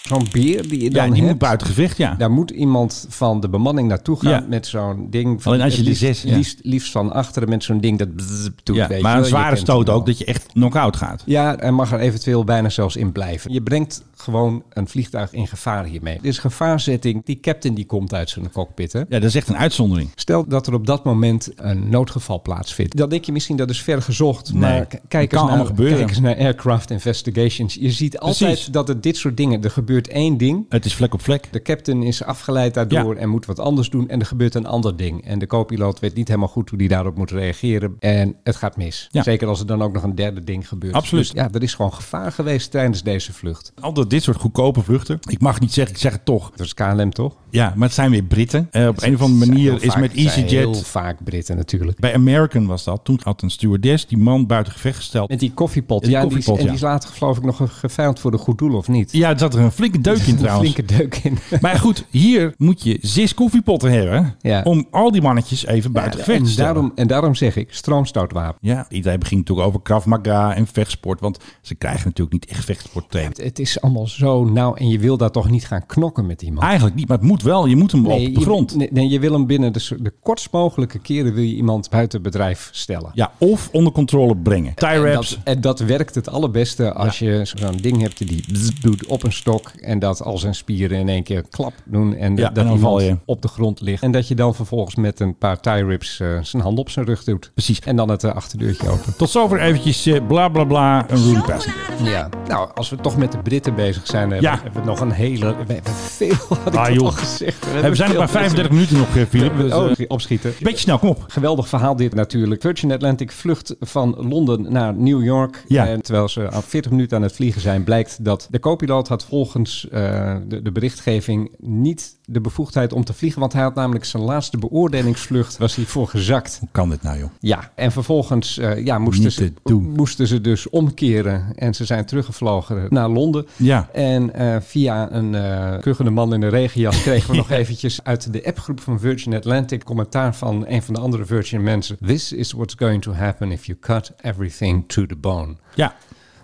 J: Zo'n beer die je
E: Ja,
J: dan
E: die moet
J: hebt,
E: buiten gevecht, ja.
J: daar moet iemand van de bemanning naartoe gaan
E: Ja.
J: met zo'n ding.
E: Alleen als je
J: het liefst,
E: die zes, ja.
J: liefst, liefst van achteren met zo'n ding dat bzzz doet.
E: ja
J: weet je
E: maar
J: wel.
E: een
J: Je
E: zware
J: kent
E: stoot
J: hem
E: ook,
J: wel.
E: dat je echt knock-out gaat.
J: Ja, en mag er eventueel bijna zelfs in blijven. Je brengt gewoon een vliegtuig in gevaar hiermee. Dit is gevaarzetting. Die captain die komt uit zijn cockpit, hè?
E: Ja, dat is echt een uitzondering.
J: Stel dat er op dat moment een noodgeval plaatsvindt. Dan denk je misschien dat is ver gezocht. maar k-
E: kan
J: kijk eens,
E: allemaal
J: naar,
E: gebeuren.
J: kijk eens naar aircraft investigations. Je ziet altijd
E: Precies.
J: dat het dit soort dingen. Er gebeurt één ding.
E: Het is vlek op vlek.
J: De captain is afgeleid daardoor
E: Ja.
J: en moet wat anders doen. En er gebeurt een ander ding. En de co-piloot weet niet helemaal goed hoe die daarop moet reageren. En het gaat mis.
E: Ja.
J: Zeker als er dan ook nog een derde ding gebeurt.
E: Absoluut.
J: Dus ja, er is gewoon gevaar geweest tijdens deze vlucht.
E: Altijd dit soort goedkope vluchten. Ik mag het niet zeggen, ik zeg het toch.
J: Dat is KLM toch?
E: Ja, maar het zijn weer Britten. Eh, op een of andere
J: Het zijn
E: manier
J: heel
E: is
J: vaak-
E: met
J: het zijn Heel
E: EasyJet...
J: vaak Britten natuurlijk.
E: Bij American was dat. Toen had een stewardess die man buiten gevecht gesteld.
J: Met die koffiepot.
E: Die
J: ja, en
E: koffiepot,
J: die,
E: ja.
J: En die is later geloof ik nog ge- geveild voor de goed doel, of niet?
E: Ja, er zat er een flinke deuk in trouwens.
J: [LAUGHS] Een flinke deuk in.
E: Maar goed, hier moet je zes koffiepotten hebben...
J: Ja.
E: om al die mannetjes even [LAUGHS] buiten gevecht te
J: en,
E: stellen.
J: daarom, en daarom zeg ik, stroomstootwapen.
E: Ja, iedereen begint natuurlijk over Krav Maga en vechtsport... want ze krijgen natuurlijk niet echt vechtsporttraining.
J: Het is allemaal zo nauw en je wil daar toch niet gaan knokken met iemand?
E: Eigenlijk niet, maar het moet wel. Je moet hem op de
J: je-
E: grond.
J: nee, nee, je wil hem binnen de, s- de kortst mogelijke keren wil je iemand buiten bedrijf stellen.
E: Ja, of onder controle brengen. Tie
J: En
E: wraps.
J: dat, en dat werkt het allerbeste als je zo'n ding hebt die bzzz doet op een stok. En dat al zijn spieren in één keer klap doen. En
E: Ja,
J: dat
E: en dan val
J: iemand
E: je.
J: op de grond ligt. En dat je dan vervolgens met een paar tie rips eh, zijn hand op zijn rug doet.
E: Precies.
J: En dan het eh, achterdeurtje open.
E: Tot zover eventjes eh, bla bla bla. Een Rooney Passenger.
D: Chocoladevla.
J: Ja, nou, als we toch met de Britten bezig zijn, hebben,
E: Ja.
J: hebben we nog een hele... We hebben veel, had ik
E: Ah,
J: dat
E: joh.
J: al gezegd.
E: Eh, We zijn nog
J: veel
E: maar 35 minuten nog, eh, Philip. Dus, eh,
J: Oh, opschieten.
E: beetje snel, kom op.
J: Geweldig verhaal dit natuurlijk. Virgin Atlantic vlucht van Londen naar New York.
E: Ja.
J: En terwijl ze aan 40 minuten aan het vliegen zijn, blijkt dat de co-piloot had volgens eh, de, de berichtgeving niet de bevoegdheid om te vliegen. Want hij had namelijk zijn laatste beoordelingsvlucht, was hij voor gezakt.
E: Hoe kan dit nou, joh?
J: Ja, en vervolgens eh, ja, moesten,
E: Niet
J: ze,
E: te doen.
J: moesten ze dus omkeren. En ze zijn teruggevlogen naar Londen.
E: Ja.
J: En eh, via een eh kuchende man in een regenjas kregen we
E: [LAUGHS]
J: nog eventjes uit de appgroep van Virgin Atlantic commentaar van een van de andere Virgin mensen. This is what's going to happen if you cut everything to the bone.
E: Ja,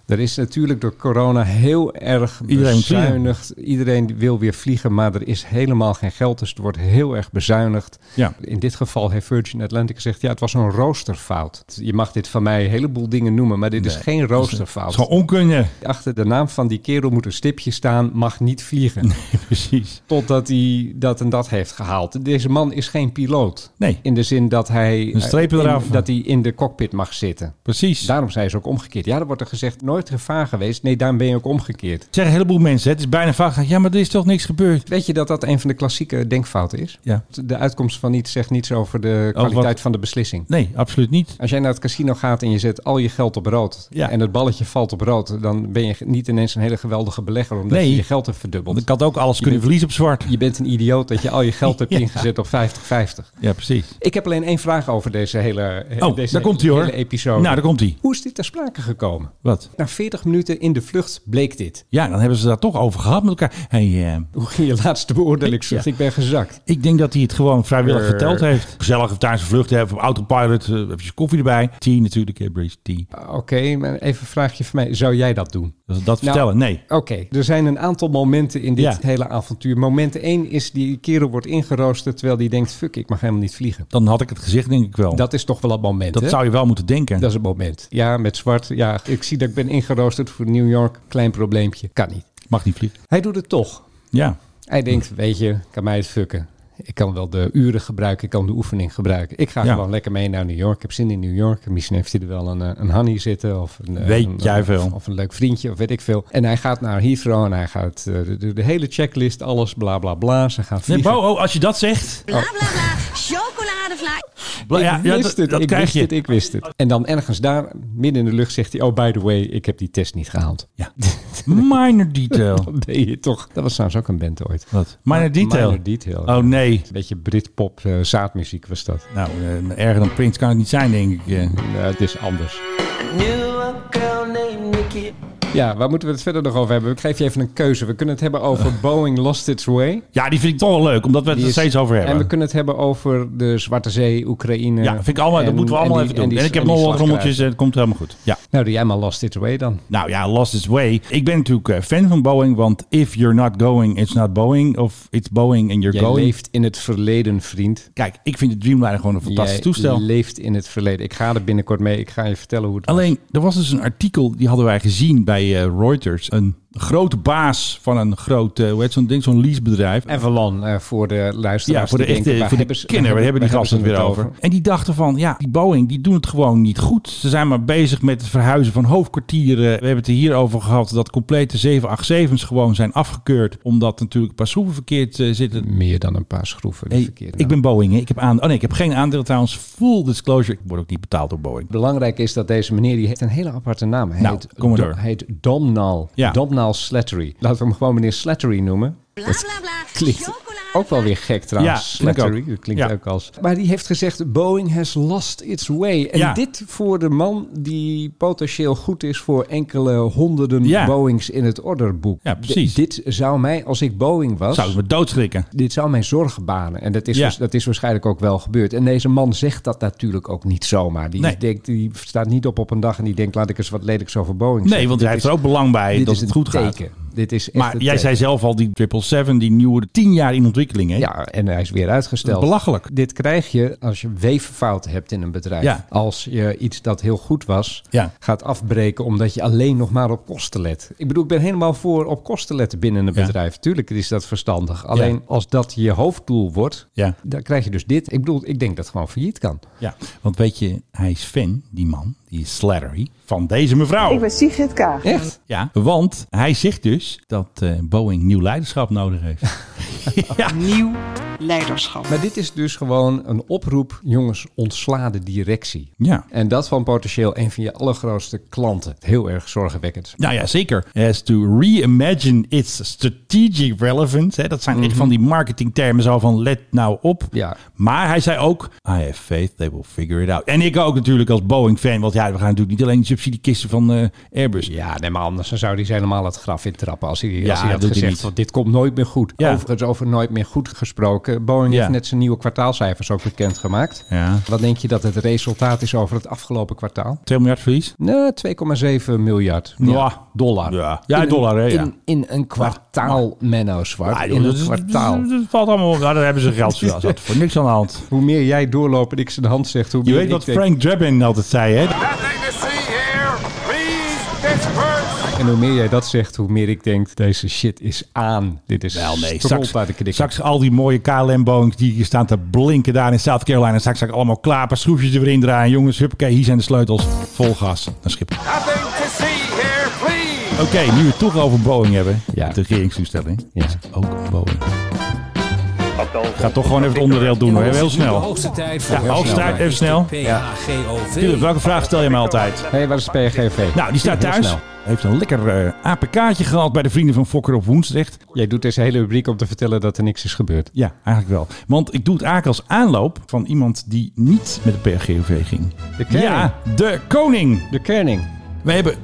J: Er is natuurlijk door corona heel erg
E: Iedereen moet vliegen.
J: bezuinigd. Iedereen wil weer vliegen, maar er is helemaal geen geld. Dus het wordt heel erg bezuinigd.
E: Ja.
J: In dit geval heeft Virgin Atlantic gezegd... ja, het was een roosterfout. Je mag dit van mij een heleboel dingen noemen... maar dit is geen
E: het
J: roosterfout.
E: is gewoon
J: [LAUGHS]
E: onkunde.
J: Achter de naam van die kerel moet een stipje staan... mag niet vliegen.
E: Precies.
J: Totdat hij dat en dat heeft gehaald. Deze man is geen piloot.
E: Nee.
J: In de zin dat hij... eh,
E: Een streepje
J: in-
E: eraf.
J: Dat hij in de cockpit mag zitten.
E: Precies.
J: Daarom zijn ze ook omgekeerd. Ja, er wordt er gezegd, nooit gevaar geweest. Nee, daarom ben je ook omgekeerd.
E: zeggen een heleboel mensen, het is bijna vaag. Ja, maar er is toch niks gebeurd?
J: Weet je dat dat een van de klassieke denkfouten is?
E: Ja.
J: De uitkomst van iets zegt niets over de
E: Oh, wat-
J: kwaliteit van de beslissing.
E: Nee, absoluut niet.
J: Als jij naar het casino gaat en je zet al je geld op rood...
E: Ja.
J: en het balletje valt op rood... dan ben je niet ineens een hele geweldige belegger... omdat
E: Nee.
J: je je geld hebt verdubbeld.
E: Want ik had ook alles kunnen
J: bent-
E: verliezen op zwart.
J: Je bent een idioot dat je al je geld hebt
E: [LAUGHS] Ja.
J: ingezet op 50-50.
E: Ja, precies.
J: Ik heb alleen één vraag over deze hele, eh,
E: Oh,
J: deze
E: daar komt hij hoor.
J: hele episode.
E: Nou, daar komt hij.
J: Hoe is dit ter sprake gekomen?
E: Wat?
J: Na 40 minuten in de vlucht bleek dit.
E: Ja, dan hebben ze daar toch over gehad met elkaar. Hey, eh,
J: Hoe ging je laatste beoordelingsvlucht?
E: Ja.
J: Ik ben gezakt.
E: ik denk dat hij het gewoon vrijwillig
J: Eh.
E: verteld heeft. Gezellig tijdens de vlucht hebben, op autopilot, eh, heb je koffie erbij. Tea natuurlijk, eh, Bridge tea.
J: Oké, maar even een vraagje van mij. Zou jij dat doen?
E: Dat, dat vertellen, nee.
J: Oké, er zijn een aantal momenten in dit
E: Ja.
J: hele avontuur. Moment 1 is die kerel wordt ingeroosterd terwijl die denkt... fuck, ik mag helemaal niet vliegen.
E: Dan had ik het gezegd, denk ik wel. Dat,
J: Dat is toch wel het moment, hè?
E: zou je wel moeten denken.
J: Dat is het moment. Ja, met zwart. Ja, ik zie dat ik ben ingeroosterd voor New York. Klein probleempje. Kan niet.
E: Mag niet vliegen.
J: Hij doet het toch.
E: Ja.
J: Hij denkt, weet je, kan mij het fucken. Ik kan wel de uren gebruiken, ik kan de oefening gebruiken. Ik ga
E: Ja.
J: gewoon lekker mee naar New York. Ik heb zin in New York. Misschien heeft hij er wel een, eh, een honey zitten. Of een, eh,
E: Weet
J: een-
E: jij veel.
J: Of, of een leuk vriendje, of weet ik veel. En hij gaat naar Heathrow en hij gaat eh, de, de hele checklist, alles, bla bla bla. Ze gaan
E: Nee,
J: vliegen.
E: Bo, oh, als je dat zegt.
D: Bla bla bla, chocoladevla.
E: Bla-
J: ik
E: ja, ja,
J: wist
E: dat,
J: het,
E: dat
J: ik
E: krijg
J: wist
E: je.
J: het, ik wist het. En dan ergens daar, midden in de lucht, zegt hij... Oh, by the way, ik heb die test niet gehaald.
E: [LAUGHS] Ja. Minor detail.
J: [LAUGHS] Dan ben je toch... Dat was trouwens ook een band ooit.
E: Wat? Minor detail.
J: Minor detail.
E: Oh nee.
J: Een beetje Britpop eh, zaadmuziek was dat.
E: Nou, eh, erger dan Prince kan het niet zijn, denk ik. eh.
J: Ja, het is anders.
A: Knew a girl named Nikki.
J: Ja, waar moeten we het verder nog over hebben? Ik geef je even een keuze. We kunnen het hebben over
E: [LAUGHS]
J: Boeing Lost Its Way.
E: Ja, die vind ik toch wel leuk, omdat we het
J: Die
E: er
J: is-
E: steeds over hebben.
J: En we kunnen het hebben over de Zwarte Zee, Oekraïne.
E: ja, vind ik allemaal, dat
J: en-
E: moeten we allemaal
J: en die-
E: even doen. En,
J: die-
E: ik heb
J: die
E: nog wel wat
J: slagkruid.
E: rommeltjes en het komt helemaal goed. Ja.
J: Nou, doe jij maar Lost Its Way dan.
E: Nou ja, Lost Its Way. Ik ben natuurlijk eh, fan van Boeing, want if you're not going, it's not Boeing. Of it's Boeing and you're
J: Jij
E: going.
J: leeft in het verleden, vriend.
E: Kijk, ik vind de Dreamliner gewoon een fantastisch
J: Jij
E: toestel.
J: leeft in het verleden. Ik ga er binnenkort mee. Ik ga je vertellen hoe het
E: Alleen, er was dus een artikel, die hadden wij gezien bij eh, Reuters. Een grote baas van een groot, eh, hoe heet zo'n ding, zo'n leasebedrijf.
J: was. Avalon, eh, voor de luisteraars.
E: Ja, voor de
J: die denken,
E: echte
J: waar
E: voor de
J: hebben ze-
E: kenner, waar hebben die
J: waar
E: gasten het
J: ze
E: weer over? En die dachten van, ja, die Boeing, die doen het gewoon niet goed. Ze zijn maar bezig met het verhuizen van hoofdkwartieren. We hebben het er hier over gehad dat complete 787's gewoon zijn afgekeurd. Omdat natuurlijk een paar schroeven verkeerd eh, zitten.
J: Meer dan een paar schroeven. die
E: Hey,
J: verkeerd
E: ik ben Boeing, hè. ik heb aan... Oh nee, ik heb geen aandeel trouwens. Full disclosure, ik word ook niet betaald door Boeing.
J: Belangrijk is dat deze meneer, die heeft een hele aparte naam. Hij
E: Nou,
J: heet,
E: kom maar
J: Do-
E: door.
J: hij heet Domnal.
E: Ja.
J: Domnal Slattery. Laten we hem gewoon meneer Slattery noemen.
D: Bla bla bla,
J: Klinkt ook wel weer gek trouwens.
E: Ja, vind ik
J: Slattery,
E: ook.
J: dat klinkt
E: Ja.
J: ook als... Maar die heeft gezegd, Boeing has lost its way. En
E: Ja.
J: dit voor de man die potentieel goed is voor enkele honderden
E: Ja.
J: Boeings in het orderboek.
E: Ja, precies.
J: D- dit zou mij, als ik Boeing was...
E: Zou ik me doodschrikken.
J: dit zou mij zorgen banen. En dat is,
E: Ja.
J: waars- dat is waarschijnlijk ook wel gebeurd. En deze man zegt dat natuurlijk ook niet zomaar. Die,
E: Nee.
J: denkt, die staat niet op op een dag en die denkt... laat ik eens wat lelijks over Boeing
E: Nee,
J: zeggen.
E: want
J: Dit
E: hij heeft
J: is-
E: er ook belang bij
J: dit
E: dat
J: is
E: het
J: een
E: goed gaat.
J: teken. Dit is echt
E: Maar
J: het
E: jij
J: teken.
E: zei zelf al, die 777, die nieuwe, tien jaar in ontwikkeling. Hè?
J: Ja, en hij is weer uitgesteld.
E: Belachelijk.
J: Dit krijg je als je weeffouten hebt in een bedrijf.
E: Ja.
J: Als je iets dat heel goed was,
E: Ja.
J: gaat afbreken omdat je alleen nog maar op kosten let. Ik bedoel, ik ben helemaal voor op kosten letten binnen een
E: Ja.
J: bedrijf. Tuurlijk is dat verstandig. Alleen als dat je hoofddoel wordt,
E: Ja.
J: dan krijg je dus dit. Ik bedoel, ik denk dat het gewoon failliet kan.
E: Ja, want weet je, hij is fan, die man, die is slattery, van deze mevrouw.
K: Sigrid Kaag.
J: Echt?
E: Ja, want hij zegt dus dat eh, Boeing nieuw leiderschap nodig
J: [LAUGHS]
E: heeft. ja.
K: Nieuw leiderschap.
J: Maar dit is dus gewoon een oproep, jongens, ontsla de directie.
E: ja.
J: En dat van potentieel een van je allergrootste klanten. Heel erg zorgwekkend.
E: Nou ja, zeker. As to reimagine its strategic relevance. Hè, dat zijn echt van die marketingtermen zo van let nou op.
J: Mhm. Ja.
E: Maar hij zei ook, I have faith they will figure it out. En ik ook natuurlijk als Boeing fan. Want ja, we gaan natuurlijk niet alleen die subsidiekisten van eh, Airbus.
J: Dus Ja, nee, maar anders dan zou hij ze helemaal het graf intrappen als hij, als hij
E: dat
J: had
E: doet hij
J: gezegd,
E: niet.
J: want dit komt nooit meer goed.
E: Ja.
J: Overigens over nooit meer goed gesproken. Boeing
E: Ja.
J: heeft net zijn nieuwe kwartaalcijfers ook bekendgemaakt.
E: Ja.
J: Wat denk je dat het resultaat is over het afgelopen kwartaal?
E: 2 miljard verlies.
J: Nou, 2,7 miljard
E: Ja.
J: dollar.
E: Ja. Ja,
J: een-
E: dollar, hè, ja.
J: In, in een kwartaal, Menno Zwart.
E: Ah, joh,
J: in
E: dat
J: een
E: is-
J: kwartaal.
E: Dat, dat valt allemaal op. Ja, daar hebben ze geld voor. Dat is voor niks aan de hand.
J: Hoe meer jij doorloopt en ik ze de hand zeg, hoe
E: Je
J: meer
E: weet
J: ik
E: wat
J: denk-
E: Frank Drebin altijd zei, hè?
J: En hoe meer jij dat zegt, hoe meer ik denk, deze shit is aan. Dit is
E: Wel nee,
J: stront uit de
E: straks,
J: knikker.
E: straks al die mooie KLM-boeings die hier staan te blinken daar in South Carolina. Straks zijn allemaal klaar, paar schroefjes er weer in draaien. Jongens, huppakee, hier zijn de sleutels. Vol gas naar Schiphol. Oké, nu we het toch over Boeing hebben.
J: Ja.
E: De regeringstoestelling.
J: Ja.
E: Is ook Boeing. Ga toch gewoon even het onderdeel doen hoor, heel snel.
I: tijd
E: Ja, hoogste tijd, even snel. Philip, welke vraag stel je me altijd?
J: Hé, waar is PRGV?
E: Nou, die staat
J: Heel
E: thuis.
J: snel.
E: Heeft een lekker eh, APK'tje gehad bij de vrienden van Fokker op Woensdrecht.
J: Jij doet deze hele rubriek om te vertellen dat er niks is gebeurd.
E: Ja, eigenlijk wel. Want ik doe het eigenlijk als aanloop van iemand die niet met de PRGOV ging.
J: De koning.
E: Ja, de koning.
J: De kerning.
E: We hebben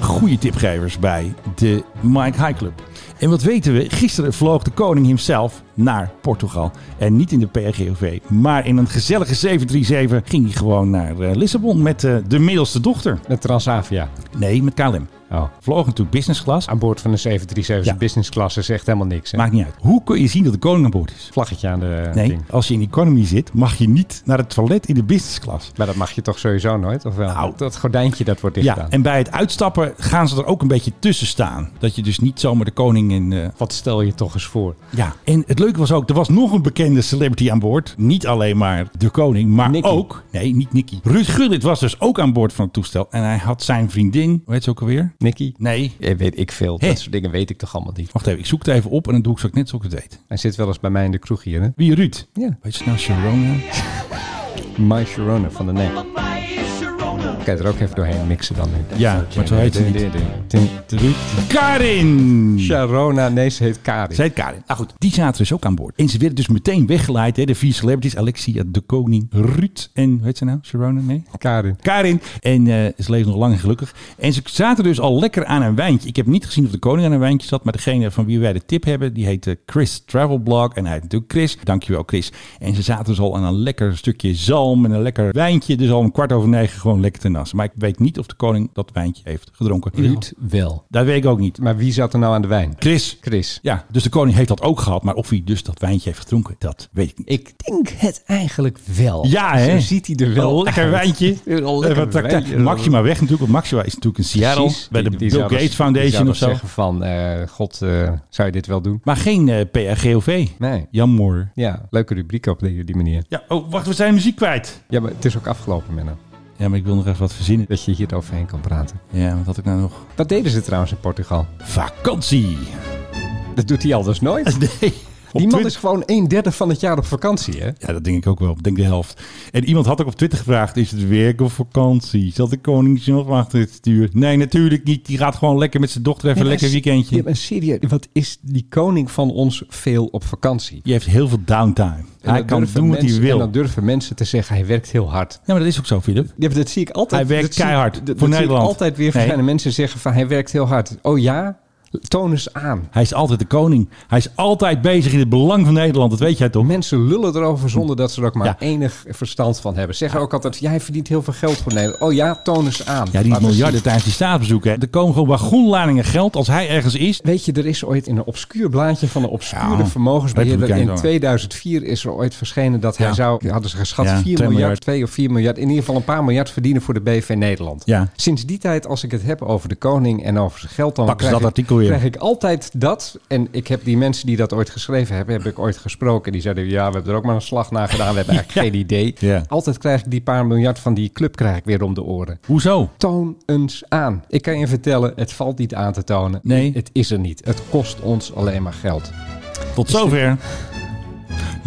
E: goede tipgevers bij de Mike High Club. En wat weten we? Gisteren vloog de koning himself naar Portugal. En niet in de PRGOV, maar in een gezellige 737 ging hij gewoon naar eh, Lissabon met eh, de middelste dochter.
J: De Transavia.
E: Nee, met KLM.
J: Oh.
E: Vloog natuurlijk business class.
J: Aan boord van de 737
E: Ja.
J: business class is echt helemaal niks. Hè?
E: Maakt niet uit. Hoe kun je zien dat de koning aan boord is?
J: Vlaggetje aan de
E: Nee,
J: ding.
E: als je in economy zit, mag je niet naar het toilet in de business class.
J: Maar dat mag je toch sowieso nooit? Of wel?
E: Nou.
J: Dat gordijntje dat wordt
E: Ja,
J: dichtgedaan.
E: en bij het uitstappen gaan ze er ook een beetje tussen staan. Dat je dus niet zomaar de koning in... eh,
J: Wat stel je toch eens voor?
E: ja, en het leuke was ook, er was nog een bekende celebrity aan boord. Niet alleen maar de koning, maar
J: Nicky.
E: ook... Nee, niet Nicky. Ruud Gullit was dus ook aan boord van het toestel. En hij had zijn vriendin, hoe heet ze ook alweer?
J: Nicky?
E: Nee,
J: Ja, weet ik veel.
E: Hè?
J: Dat soort dingen weet ik toch allemaal niet.
E: wacht even, ik zoek het even op en dan doe ik zo net zoals ik het weet.
J: Hij zit wel eens bij mij in de kroeg hier, hè?
E: Wie, Ruud?
J: Ja.
E: Weet je nou, Sharona?
J: My Sharona van de NEC. Kijk er ook even doorheen mixen dan nu.
E: Ja, maar zo heet ze niet.
J: niet.
E: Karin!
J: Sharona, nee, ze heet Karin.
E: Zij het Karin. Nou goed, die zaten dus ook aan boord. En ze werden dus meteen weggeleid. Hè? De vier celebrities. Alexia, de koning, Ruud en... Hoe heet ze nou? Sharona? Nee?
J: Karin.
E: Karin. En eh, ze leeft nog lang en gelukkig. En ze zaten dus al lekker aan een wijntje. Ik heb niet gezien of de koning aan een wijntje zat. Maar degene van wie wij de tip hebben, die heet eh, Chris Travelblog. En hij heet natuurlijk Chris. Dankjewel Chris. En ze zaten dus al aan een lekker stukje zalm en een lekker wijntje. Dus al om kwart over negen gewoon lekker te nassen. Maar ik weet niet of de koning dat wijntje heeft gedronken.
J: Ruud wel.
E: Dat weet ik ook niet.
J: Maar wie zat er nou aan de wijn?
E: Chris.
J: Chris.
E: Ja, dus de koning heeft dat ook gehad. Maar of hij dus dat wijntje heeft gedronken, dat weet ik niet.
J: Ik denk het eigenlijk wel.
E: Ja, hè?
J: Zo ziet hij er wel
E: Een lekker
J: uit.
E: wijntje.
J: [LAUGHS] Een lekker
E: Even traktaar.
J: wijntje.
E: Maxima weg natuurlijk. Want Maxima is natuurlijk een Seattle.
J: Precies.
E: bij de
J: Die- die
E: Bill
J: zou dat-
E: Gates
J: die zou
E: Foundation
J: dat
E: of zo.
J: zeggen van, eh, god, eh, zou je dit wel doen?
E: Maar geen eh PRGOV.
J: Nee.
E: Jammer.
J: Ja, leuke rubriek op die, die manier.
E: Ja, oh, wacht, we zijn muziek kwijt.
J: Ja, maar het is ook afgelopen, Menno.
E: Ja, maar ik wil nog even wat verzinnen.
J: Dat je hier overheen kan praten.
E: Ja, wat had ik nou nog?
J: Wat deden ze trouwens in Portugal? [LAUGHS]
E: Vakantie.
J: Dat doet hij anders nooit.
E: Nee. [LAUGHS] Op
J: Die man
E: Twitter-
J: is gewoon een derde van het jaar op vakantie, hè?
E: Ja, dat denk ik ook wel. Ik denk de helft. En iemand had ook op Twitter gevraagd: is het werk of vakantie? Zat de koning zelf achter het stuur? Nee, natuurlijk niet. Die gaat gewoon lekker met zijn dochter even een lekker weekendje.
J: Ja, maar serieus, wat is die koning van ons veel op vakantie?
E: Je heeft heel veel downtime.
J: En
E: Hij
J: dan
E: kan
J: durven
E: doen wat hij
J: mensen-
E: wil.
J: En dan durven mensen te zeggen, hij werkt heel hard.
E: Ja, maar dat is ook zo, Philip.
J: Ja, maar dat zie ik altijd.
E: Hij werkt
J: dat zie-
E: keihard
J: dat-
E: voor
J: dat zie ik
E: Nederland.
J: altijd weer
E: Nee.
J: verschillende mensen zeggen van hij werkt heel hard. Oh ja? Toon eens aan.
E: Hij is altijd de koning. Hij is altijd bezig in het belang van Nederland. Dat weet jij toch?
J: Mensen lullen erover zonder dat ze er ook maar
E: Ja.
J: enig verstand van hebben. Zeggen ook altijd, jij verdient heel veel geld voor Nederland. Oh ja, toon eens aan.
E: Ja, die
J: Laat eens
E: miljarden
J: zien.
E: tijdens die staatsbezoek. Hè. Er komen gewoon wagonladingen geld als hij ergens is.
J: Weet je, er is ooit in een obscuur blaadje van een obscure
E: Ja,
J: vermogensbeheerder
E: Republikein
J: in
E: dan.
J: 2004 is er ooit verschenen dat hij
E: Ja.
J: zou, hadden ze geschat,
E: Ja,
J: 4
E: 2
J: miljard,
E: miljard.
J: 2 of 4 miljard, in ieder geval een paar miljard verdienen voor de BV Nederland.
E: Ja.
J: Sinds die tijd, als ik het heb over de koning en over zijn geld, dan
E: Pakken ze
J: krijg,
E: dat
J: ik,
E: artikel weer.
J: krijg ik altijd dat. En ik heb die mensen die dat ooit geschreven hebben, heb ik ooit gesproken. Die zeiden, ja, we hebben er ook maar een slag naar gedaan,
E: [LAUGHS]
J: we hebben eigenlijk geen idee.
E: Ja.
J: Altijd krijg ik die paar miljard van die club krijg ik weer om de oren.
E: Hoezo?
J: Toon eens aan. Ik kan je vertellen, het valt niet aan te tonen.
E: Nee.
J: Het is er niet. Het kost ons alleen maar geld.
E: Tot zover.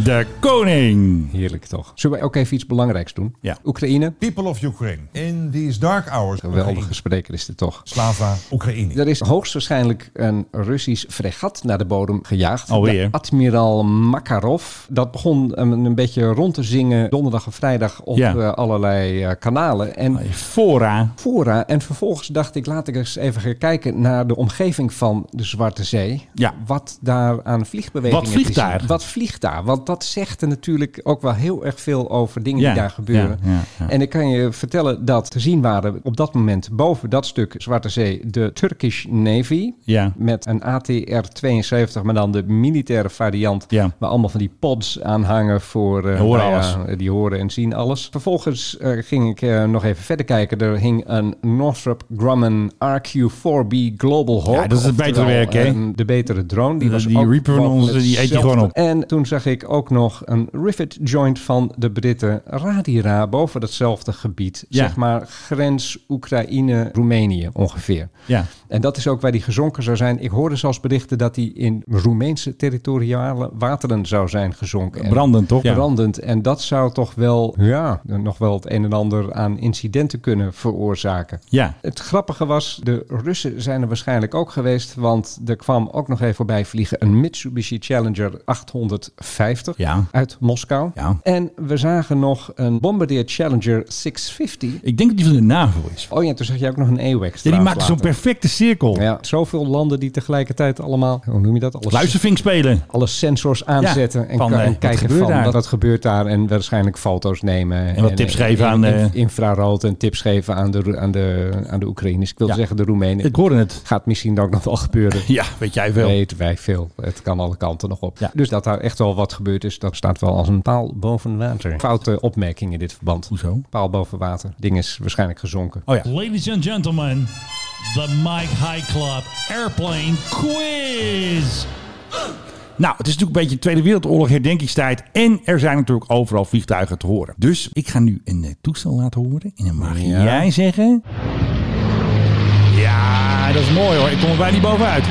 E: De koning.
J: Heerlijk toch? Zullen wij ook even iets belangrijks doen?
E: Ja.
J: Oekraïne.
L: People of Ukraine, in these dark hours,
J: Geweldige spreker is dit toch?
L: Slava Oekraïne.
J: Er is hoogstwaarschijnlijk een Russisch fregat naar de bodem gejaagd.
E: Alweer.
J: De admiraal Makarov. Dat begon een, een beetje rond te zingen donderdag en vrijdag op
E: Ja. Ah,
J: eh, allerlei eh, kanalen. En
E: Fora.
J: fora. En vervolgens dacht ik, laat ik eens even gaan kijken naar de omgeving van de Zwarte Zee.
E: Ja.
J: Wat daar aan vliegbewegingen
E: Wat vliegt
J: te zien-
E: daar?
J: Wat vliegt daar? Want dat zegt er natuurlijk ook wel heel erg veel over dingen
E: Ja,
J: die daar gebeuren.
E: ja, ja, ja.
J: En ik kan je vertellen dat te zien waren op dat moment boven dat stuk Zwarte Zee de Turkish Navy.
E: Ja.
J: Met een ATR-72, maar dan de militaire variant.
E: Ja.
J: Waar allemaal van die pods aan hangen voor... eh,
E: Horen
J: nou ja,
E: alles.
J: eh, Die horen en zien alles. Vervolgens eh, ging ik eh, nog even verder kijken. Er hing een Northrop Grumman RQ-4B Global Hawk.
E: Ja, dat is het betere
J: oftewel,
E: werk, hè?
J: een- De betere drone. Die,
E: Eh,
J: was
E: die
J: ook
E: Reaper van
J: wel
E: ons, die eet je
J: hetzelfde.
E: gewoon op.
J: En toen zag ik ook nog een rivet joint van de Britten Radira boven datzelfde gebied.
E: Ja.
J: Zeg maar grens Oekraïne-Roemenië ongeveer.
E: Ja.
J: En dat is ook waar die gezonken zou zijn. Ik hoorde zelfs berichten dat die in Roemeense territoriale wateren zou zijn gezonken. En
E: Brandend, toch? Ja.
J: Brandend. En dat zou toch wel, ja, nog wel het een en ander aan incidenten kunnen veroorzaken.
E: Ja.
J: Het grappige was, de Russen zijn er waarschijnlijk ook geweest, want er kwam ook nog even voorbij vliegen een Mitsubishi Challenger 850
E: Ja.
J: uit Moskou.
E: Ja.
J: En we zagen nog een Bombardier Challenger 650.
E: Ik denk dat die van de NAVO is.
J: Oh ja, toen zag je ook nog een AWACS.
E: Ja, die
J: trouwens
E: maakt zo'n
J: later.
E: perfecte cirkel.
J: Ja, zoveel landen die tegelijkertijd allemaal, hoe noem je dat? Alles,
E: Luistervink spelen.
J: alle sensors aanzetten en,
E: van,
J: ka-
E: eh,
J: en
E: wat
J: kijken
E: gebeurt
J: van
E: daar?
J: wat, wat gebeurt daar. En waarschijnlijk foto's nemen. En
E: wat tips
J: eh,
E: geven
J: en-
E: aan,
J: en
E: eh,
J: infrarood en tips geven aan de, Ro- aan de, aan de Oekraïners. Ik wil
E: Ja.
J: zeggen de Roemenen.
E: Ik hoorde het.
J: Gaat misschien ook nog wel gebeuren.
E: [LAUGHS] Ja, weet jij wel.
J: Weten wij veel. Het kan alle kanten nog op.
E: Ja.
J: Dus dat daar echt wel wat gebeurd is, dat staat wel als een paal boven water. Foute opmerking in dit verband.
E: Hoezo?
J: Paal boven water. Ding is waarschijnlijk gezonken.
E: Oh ja.
M: Ladies and gentlemen, the Mike High Club Airplane Quiz.
E: Nou, het is natuurlijk een beetje Tweede Wereldoorlog herdenkingstijd. En er zijn natuurlijk overal vliegtuigen te horen. Dus ik ga nu een eh, toestel laten horen. En dan mag
J: Ja.
E: jij zeggen. Ja, Ah, dat is mooi hoor. Ik kom er bijna niet bovenuit.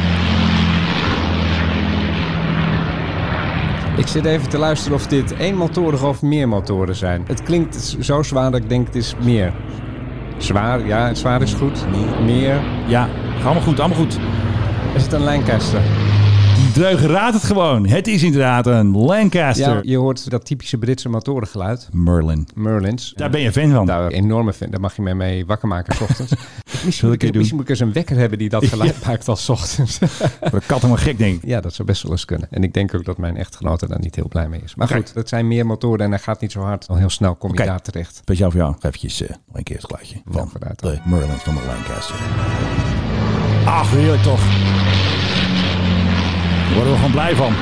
J: Ik zit even te luisteren of dit eenmotorig of meermotoren zijn. Het klinkt z- zo zwaar dat ik denk het is meer. Zwaar, ja, zwaar is goed. Meer.
E: Ja, gaat allemaal goed, allemaal goed.
J: Is het een Lancaster?
E: Die dreugen raadt het gewoon. Het is inderdaad een Lancaster.
J: Ja, je hoort dat typische Britse motorengeluid.
E: Merlin.
J: Merlins.
E: Daar ben je fan van.
J: Nou, enorme fan. Daar mag je mij mee wakker maken s
E: [LAUGHS]
J: ochtends.
E: Zullen we
J: misschien,
E: een
J: moet
E: keer
J: ik,
E: doen?
J: misschien moet ik eens een wekker hebben
E: [LAUGHS]
J: die dat geluid maakt als 's ochtends. [LAUGHS]
E: De kat helemaal gek, denk ik.
J: ja, dat zou best wel eens kunnen. En ik denk ook dat mijn echtgenote daar niet heel blij mee is. Maar
E: Oké.
J: goed, dat zijn meer motoren en dat gaat niet zo hard. Al heel snel kom je
E: Oké.
J: daar terecht.
E: Speciaal voor jou nog eventjes eh, nog een keer het geluidje van
J: vooruit dan.
E: de Merlin van de Lancaster. Ach, heerlijk toch. Daar worden we gewoon blij van.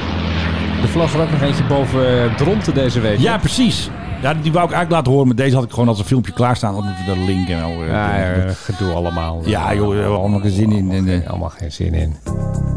J: Er vloog er ook nog eentje boven eh, Dronten deze week.
E: Ja, precies. Ja, die wou ik eigenlijk laten horen, maar deze had ik gewoon als een filmpje klaarstaan. Dan moeten we de link en al. eh,
J: Ja,
E: doen.
J: eh, gedoe allemaal.
E: ja, joh, we hebben allemaal geen zin in. En, eh,
J: Allemaal geen zin in.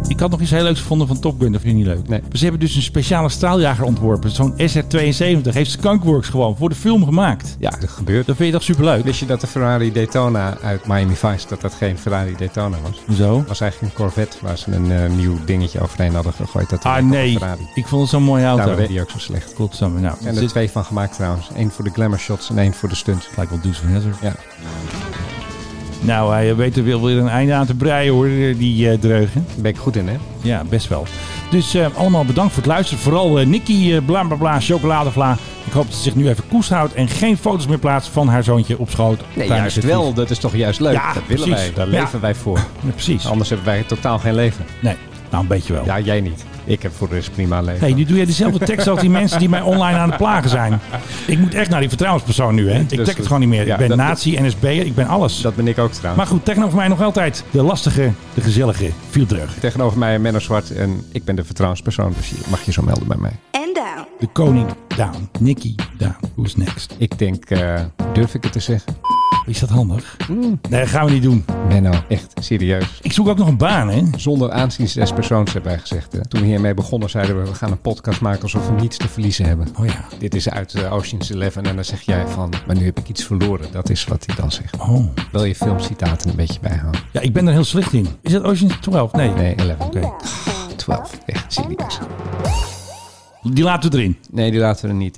E: ik had nog iets heel leuks gevonden van Top Gun, dat vind je niet leuk.
J: Nee.
E: Maar Ze hebben dus een speciale straaljager ontworpen. Zo'n SR-72 heeft Skunkworks gewoon voor de film gemaakt.
J: Ja, dat gebeurt.
E: Dat vind je toch superleuk?
J: Wist je dat de Ferrari Daytona uit Miami Vice, dat dat geen Ferrari Daytona was?
E: Zo.
J: Het was eigenlijk een Corvette waar ze een eh, nieuw dingetje overheen hadden gegooid. Dat
E: Ah
J: leek op
E: nee,
J: een Ferrari.
E: ik vond het zo'n mooie auto.
J: Daar werd die ook zo slecht.
E: Klopt, samen. Nou,
J: En er
E: zit-
J: twee van gemaakt trouwens. Eén voor de glamour shots en één voor de stunts.
E: Het lijkt wel Deuce van Hazard.
J: Ja.
E: Nou, hij weet er wel weer een einde aan te breien hoor, die eh, dreugen.
J: Daar ben ik goed in, hè?
E: Ja, best wel. Dus eh, allemaal bedankt voor het luisteren. Vooral eh Nicky, eh, bla bla bla, chocoladevla. Ik hoop dat ze zich nu even koest houdt en geen foto's meer plaatst van haar zoontje op schoot.
J: Nee,
E: tijdens
J: juist
E: het
J: wel.
E: vliegen.
J: Dat is toch juist leuk.
E: Ja,
J: dat willen
E: precies.
J: wij. Daar
E: Ja.
J: leven wij voor.
E: precies.
J: Anders hebben wij totaal geen leven.
E: Nee, nou een beetje wel.
J: Ja, jij niet. Ik heb voor de rest prima leven.
E: Hey, nu doe jij dezelfde tekst als die mensen die mij online aan het plagen zijn. Ik moet echt naar die vertrouwenspersoon nu, hè? Ik
J: Dat is
E: trek
J: goed.
E: het gewoon niet meer.
J: Ja,
E: ik ben
J: dat-
E: nazi, NSB'er, ik ben alles.
J: Dat ben ik ook trouwens.
E: Maar goed, techno voor mij nog altijd de lastige, de gezellige, Vieldreug.
J: Tegenover mij Menno Zwart en ik ben de vertrouwenspersoon. Dus je mag je zo melden bij mij.
N: En down.
E: De koning down, Nicky down. Who's next?
J: Ik denk, eh, durf ik het te zeggen?
E: Is dat handig? Nee, dat gaan we niet doen.
J: Menno, echt serieus.
E: Ik zoek ook nog een baan, hè?
J: Zonder aanzien des persoons hebben wij gezegd. Hè. Toen we hiermee begonnen zeiden we, we gaan een podcast maken alsof we niets te verliezen hebben.
E: Oh ja.
J: Dit is uit eh, Ocean's Eleven en dan zeg jij van, maar nu heb ik iets verloren. Dat is wat hij dan zegt.
E: Oh.
J: Wil je filmcitaten een beetje bijhouden?
E: Ja, ik ben er heel slecht in. Is dat Ocean 12? Nee.
J: Nee, 11.
E: Oké.
J: 12. Echt serieus.
E: Die laten we erin.
J: Nee, die laten we er niet in.